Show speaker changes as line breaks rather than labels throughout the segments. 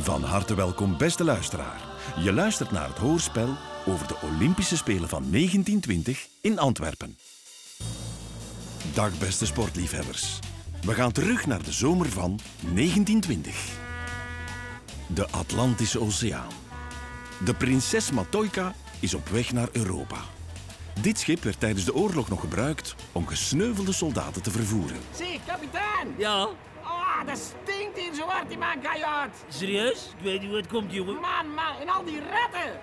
Van harte welkom, beste luisteraar. Je luistert naar het hoorspel over de Olympische Spelen van 1920 in Antwerpen. Dag, beste sportliefhebbers. We gaan terug naar de zomer van 1920. De Atlantische Oceaan. De prinses Matoika is op weg naar Europa. Dit schip werd tijdens de oorlog nog gebruikt om gesneuvelde soldaten te vervoeren.
Zie, kapitein!
Ja,
Ah, dat stinkt hier zo hard in mijn kajuit!
serieus? Ik weet niet hoe het komt, jongen.
Man, man, en al die ratten!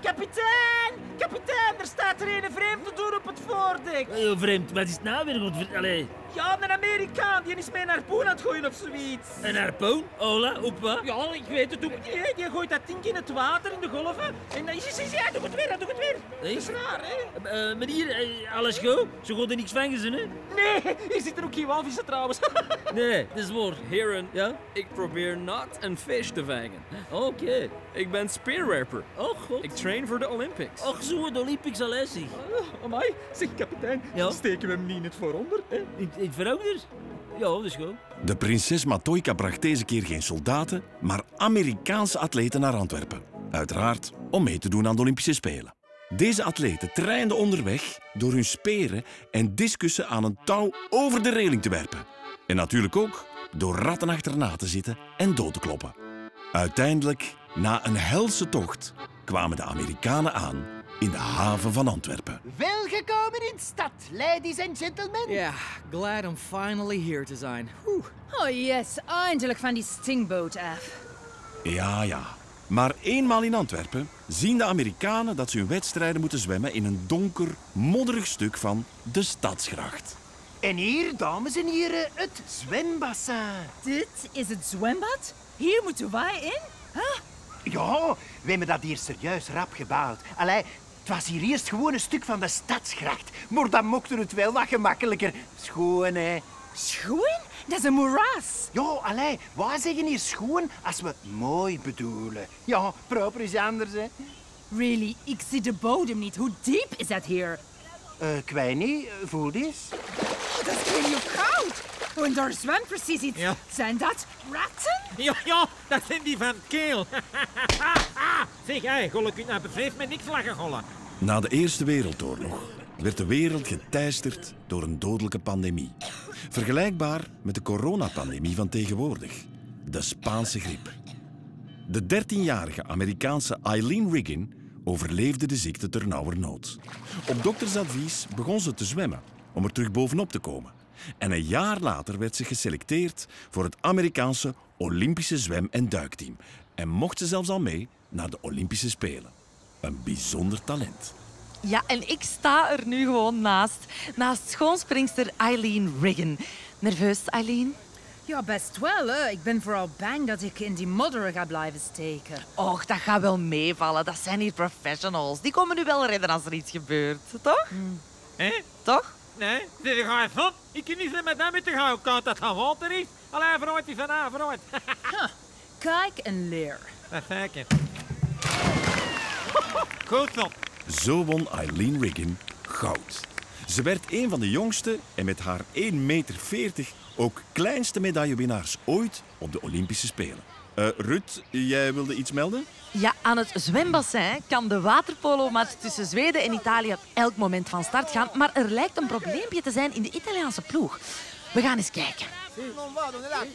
Kapitein! Kapitein, er staat er een vreemde door op het voordek.
Heel vreemd, wat is het nou weer? Godver... Allee,
Ja, een Amerikaan, die is mijn harpoen aan het gooien of zoiets.
een harpoen? Ola, opwa?
Ja, ik weet het ook niet. hè. Die gooit dat ding in het water, in de golven. En dan is hij zegt, ja, doe het weer, doe het weer. Dat is raar, hè?
Eh, meneer, eh, alles goed? Ze gooien er niks van gezien, hè?
Nee, hier zitten ook geen walvissen trouwens.
Nee, dat is waar.
Heren,
Ja?
ik probeer nat en vis te vangen.
Oké.
Ik ben spearwerper.
Oh, god.
Ik train voor de Olympics.
Och, zo het Olympics al is, zeg.
Oh, amai. Zeg, kapitein,
Ja?
steken we hem niet in het vooronder? Hè?
In, in het veranderd? Ja, dat is goed.
De prinses Matoika bracht deze keer geen soldaten, maar Amerikaanse atleten naar Antwerpen. Uiteraard om mee te doen aan de Olympische Spelen. Deze atleten trainden onderweg door hun speren en discussen aan een touw over de reling te werpen. En natuurlijk ook door ratten achterna te zitten en dood te kloppen. Uiteindelijk, na een helse tocht, kwamen de Amerikanen aan in de haven van Antwerpen.
Welgekomen in stad, ladies and gentlemen.
Yeah, glad I'm finally here to zijn. Whew.
Oh yes, eindelijk van die stingboot af.
Ja, ja. Maar eenmaal in Antwerpen zien de Amerikanen dat ze hun wedstrijden moeten zwemmen in een donker, modderig stuk van de stadsgracht.
En hier, dames en heren, het zwembassin.
Dit is het zwembad? Hier moeten wij in? Huh?
Ja, we hebben dat hier serieus rap gebouwd. Allee, het was hier eerst gewoon een stuk van de stadsgracht. Maar dan mochten het wel wat gemakkelijker. Schoon, hè.
Schoen? Dat is een moeras.
Ja, allee, wij zeggen hier schoon als we het mooi bedoelen. Ja, proper is anders, hè.
Really, ik zie de bodem niet. Hoe diep is dat hier?
Eh, ik weet niet, eh, voel eens.
Oh, dat is heel koud. En daar zwemt precies iets.
Ja.
Zijn dat ratten?
Ja, ja, dat zijn die van Keel. zeg, hey, golle kunt nou bevreesd met niks lachen, golle.
Na de Eerste Wereldoorlog werd de wereld geteisterd door een dodelijke pandemie. Vergelijkbaar met de coronapandemie van tegenwoordig, de Spaanse griep. De 13-jarige Amerikaanse Eileen Riggin overleefde de ziekte ternauwernood. Op doktersadvies begon ze te zwemmen om er terug bovenop te komen. En een jaar later werd ze geselecteerd voor het Amerikaanse Olympische zwem- en duikteam. En mocht ze zelfs al mee naar de Olympische Spelen. Een bijzonder talent.
Ja, en ik sta er nu gewoon naast. Naast schoonspringster Eileen Riggen. Nerveus, Eileen?
Ja, best wel. Hè. Ik ben vooral bang dat ik in die modder ga blijven steken.
Och, dat gaat wel meevallen. Dat zijn hier professionals. Die komen nu wel redden als er iets gebeurt. Toch?
Hé?
Toch?
Nee, dit ga je van. Ik kan niet met hem met de gauw kant dat gaan water is. Allee, vooruit die van haar, vooruit.
Kijk en leer.
dat zeker. Goed zo.
Zo won Eileen Riggin goud. Ze werd een van de jongste en met haar 1,40 meter ook kleinste medaillewinnaars ooit op de Olympische Spelen. Eh Ruud, jij wilde iets melden?
Ja, aan het zwembassin kan de waterpolo-match tussen Zweden en Italië op elk moment van start gaan. Maar er lijkt een probleempje te zijn in de Italiaanse ploeg. We gaan eens kijken.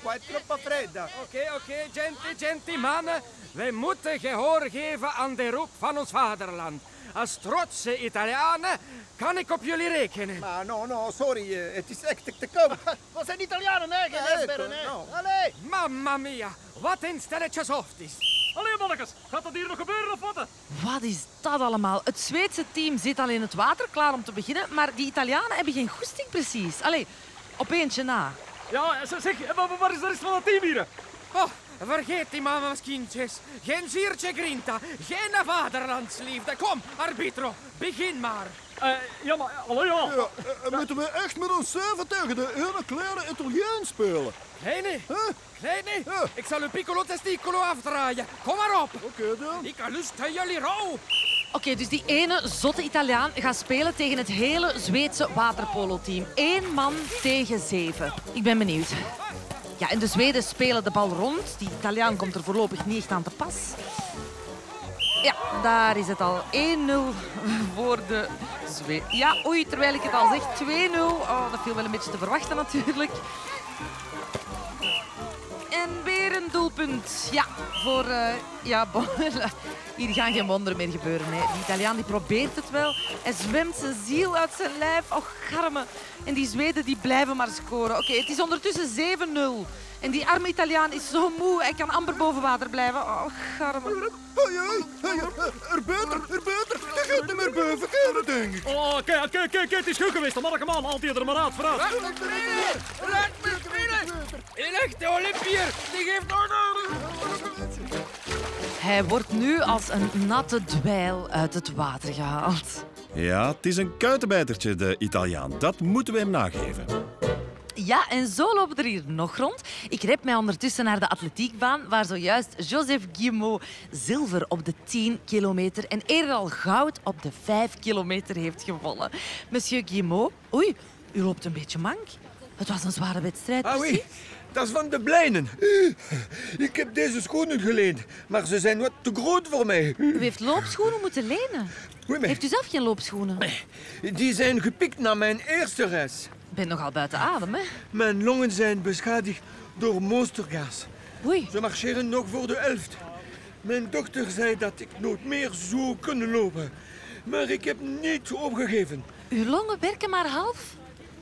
Oké, oké, genti, genti, mannen. Wij moeten gehoor geven aan de roep van ons vaderland. Als trotse Italianen kan ik op jullie rekenen.
Ah, no, no, sorry, eh, het is echt te koud.
We zijn Italianen, hè, geen Lesberen,
eh,
hè.
nou.
Allee.
Mamma mia, wat een stelletje softies.
Allee, mannetjes, gaat dat hier nog gebeuren of wat?
Wat is dat allemaal? Het Zweedse team zit al in het water klaar om te beginnen. Maar die Italianen hebben geen goesting precies. Allee, op eentje na.
Ja, zeg, waar is de rest van het team hier?
Oh, vergeet die mama's kindjes. Geen ziertje grinta, geen vaderlandsliefde. Kom, arbitro, begin maar.
Eh, ja, maar, hallo, ja.
Ja, eh, eh, moeten we echt met ons zeven tegen de hele kleine Italiaan spelen?
Kleine,
Huh?
kleine,
Ja.
ik zal uw piccolo testicolo afdraaien. Kom maar op.
Oké dan.
Ik lust jullie rouw.
Oké, dus die ene zotte Italiaan gaat spelen tegen het hele Zweedse waterpolo-team. Eén man tegen zeven. Ik ben benieuwd. Ja, en de Zweden spelen de bal rond. Die Italiaan komt er voorlopig niet echt aan te pas. Ja, daar is het al 1-0 voor de Zweden. Ja, oei, terwijl ik het al zeg, 2-0. Oh, dat viel wel een beetje te verwachten natuurlijk. En weer een doelpunt. Ja, voor... eh, ja, bon, hier gaan geen wonderen meer gebeuren. Hè. Die Italiaan die probeert het wel. Hij zwemt zijn ziel uit zijn lijf. Och, garme. En die Zweden die blijven maar scoren. Oké, het is ondertussen 7-0. En die arme Italiaan is zo moe. Hij kan amper boven water blijven. Och, garme.
Hoi, hoi, hoi, er beter, er beter. Je gaat niet meer boven kunnen, denk ik.
Oh, kijk, kijk, kijk, het is goed geweest. Dan man, haalt hij er maar uit, vooruit.
Laat me spelen! Een echte Olympier, die geeft orde!
Hij wordt nu als een natte dweil uit het water gehaald.
Ja, het is een kuitenbijtertje, de Italiaan. Dat moeten we hem nageven.
Ja, en zo lopen er hier nog rond. Ik rep mij ondertussen naar de atletiekbaan, waar zojuist Joseph Guillemot zilver op de 10 kilometer en eerder al goud op de 5 kilometer heeft gewonnen. Monsieur Guillemot, oei, u loopt een beetje mank. Het was een zware wedstrijd,
Ah
precies.
oui, dat is van de Blijnen. Eh, Ik heb deze schoenen geleend, maar ze zijn wat te groot voor mij.
U heeft loopschoenen moeten lenen.
Oui, maar
Heeft u zelf geen loopschoenen?
die zijn gepikt na mijn eerste reis.
Ik ben nogal buiten adem, hè?
Mijn longen zijn beschadigd door monstergas.
Oei.
Ze marcheren nog voor de helft. Mijn dochter zei dat ik nooit meer zou kunnen lopen. Maar ik heb niet opgegeven.
Uw longen werken maar half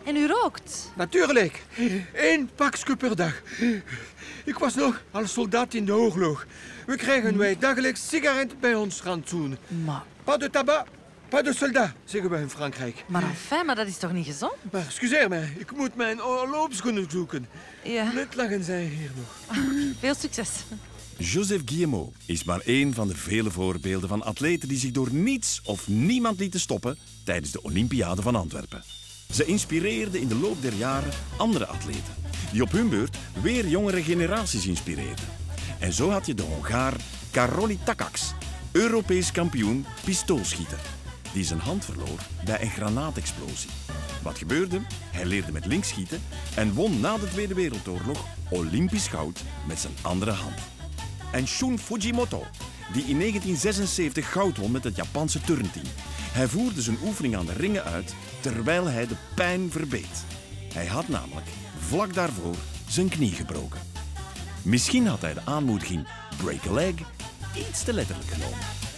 en u rookt.
Natuurlijk. Eén pakje per dag. Ik was nog als soldaat in de oorlog. We krijgen wij dagelijks sigaret bij ons rantsoen.
Maar...
Pas de tabac, pas de soldat, zeggen wij in Frankrijk.
Maar enfin, maar dat is toch niet gezond?
Maar excuseer mij, ik moet mijn loopschoenen zoeken.
Ja.
Net lagen zij hier nog.
Veel succes.
Joseph Guillemot is maar één van de vele voorbeelden van atleten die zich door niets of niemand lieten stoppen tijdens de Olympiade van Antwerpen. Ze inspireerden in de loop der jaren andere atleten, die op hun beurt weer jongere generaties inspireerden. En zo had je de Hongaar Karoli Takaks, Europees kampioen pistoolschieten, die zijn hand verloor bij een granaatexplosie. Wat gebeurde? Hij leerde met links schieten en won na de Tweede Wereldoorlog Olympisch goud met zijn andere hand en Shun Fujimoto, die in 1976 goud won met het Japanse turnteam. Hij voerde zijn oefening aan de ringen uit terwijl hij de pijn verbeet. Hij had namelijk vlak daarvoor zijn knie gebroken. Misschien had hij de aanmoediging break a leg iets te letterlijk genomen.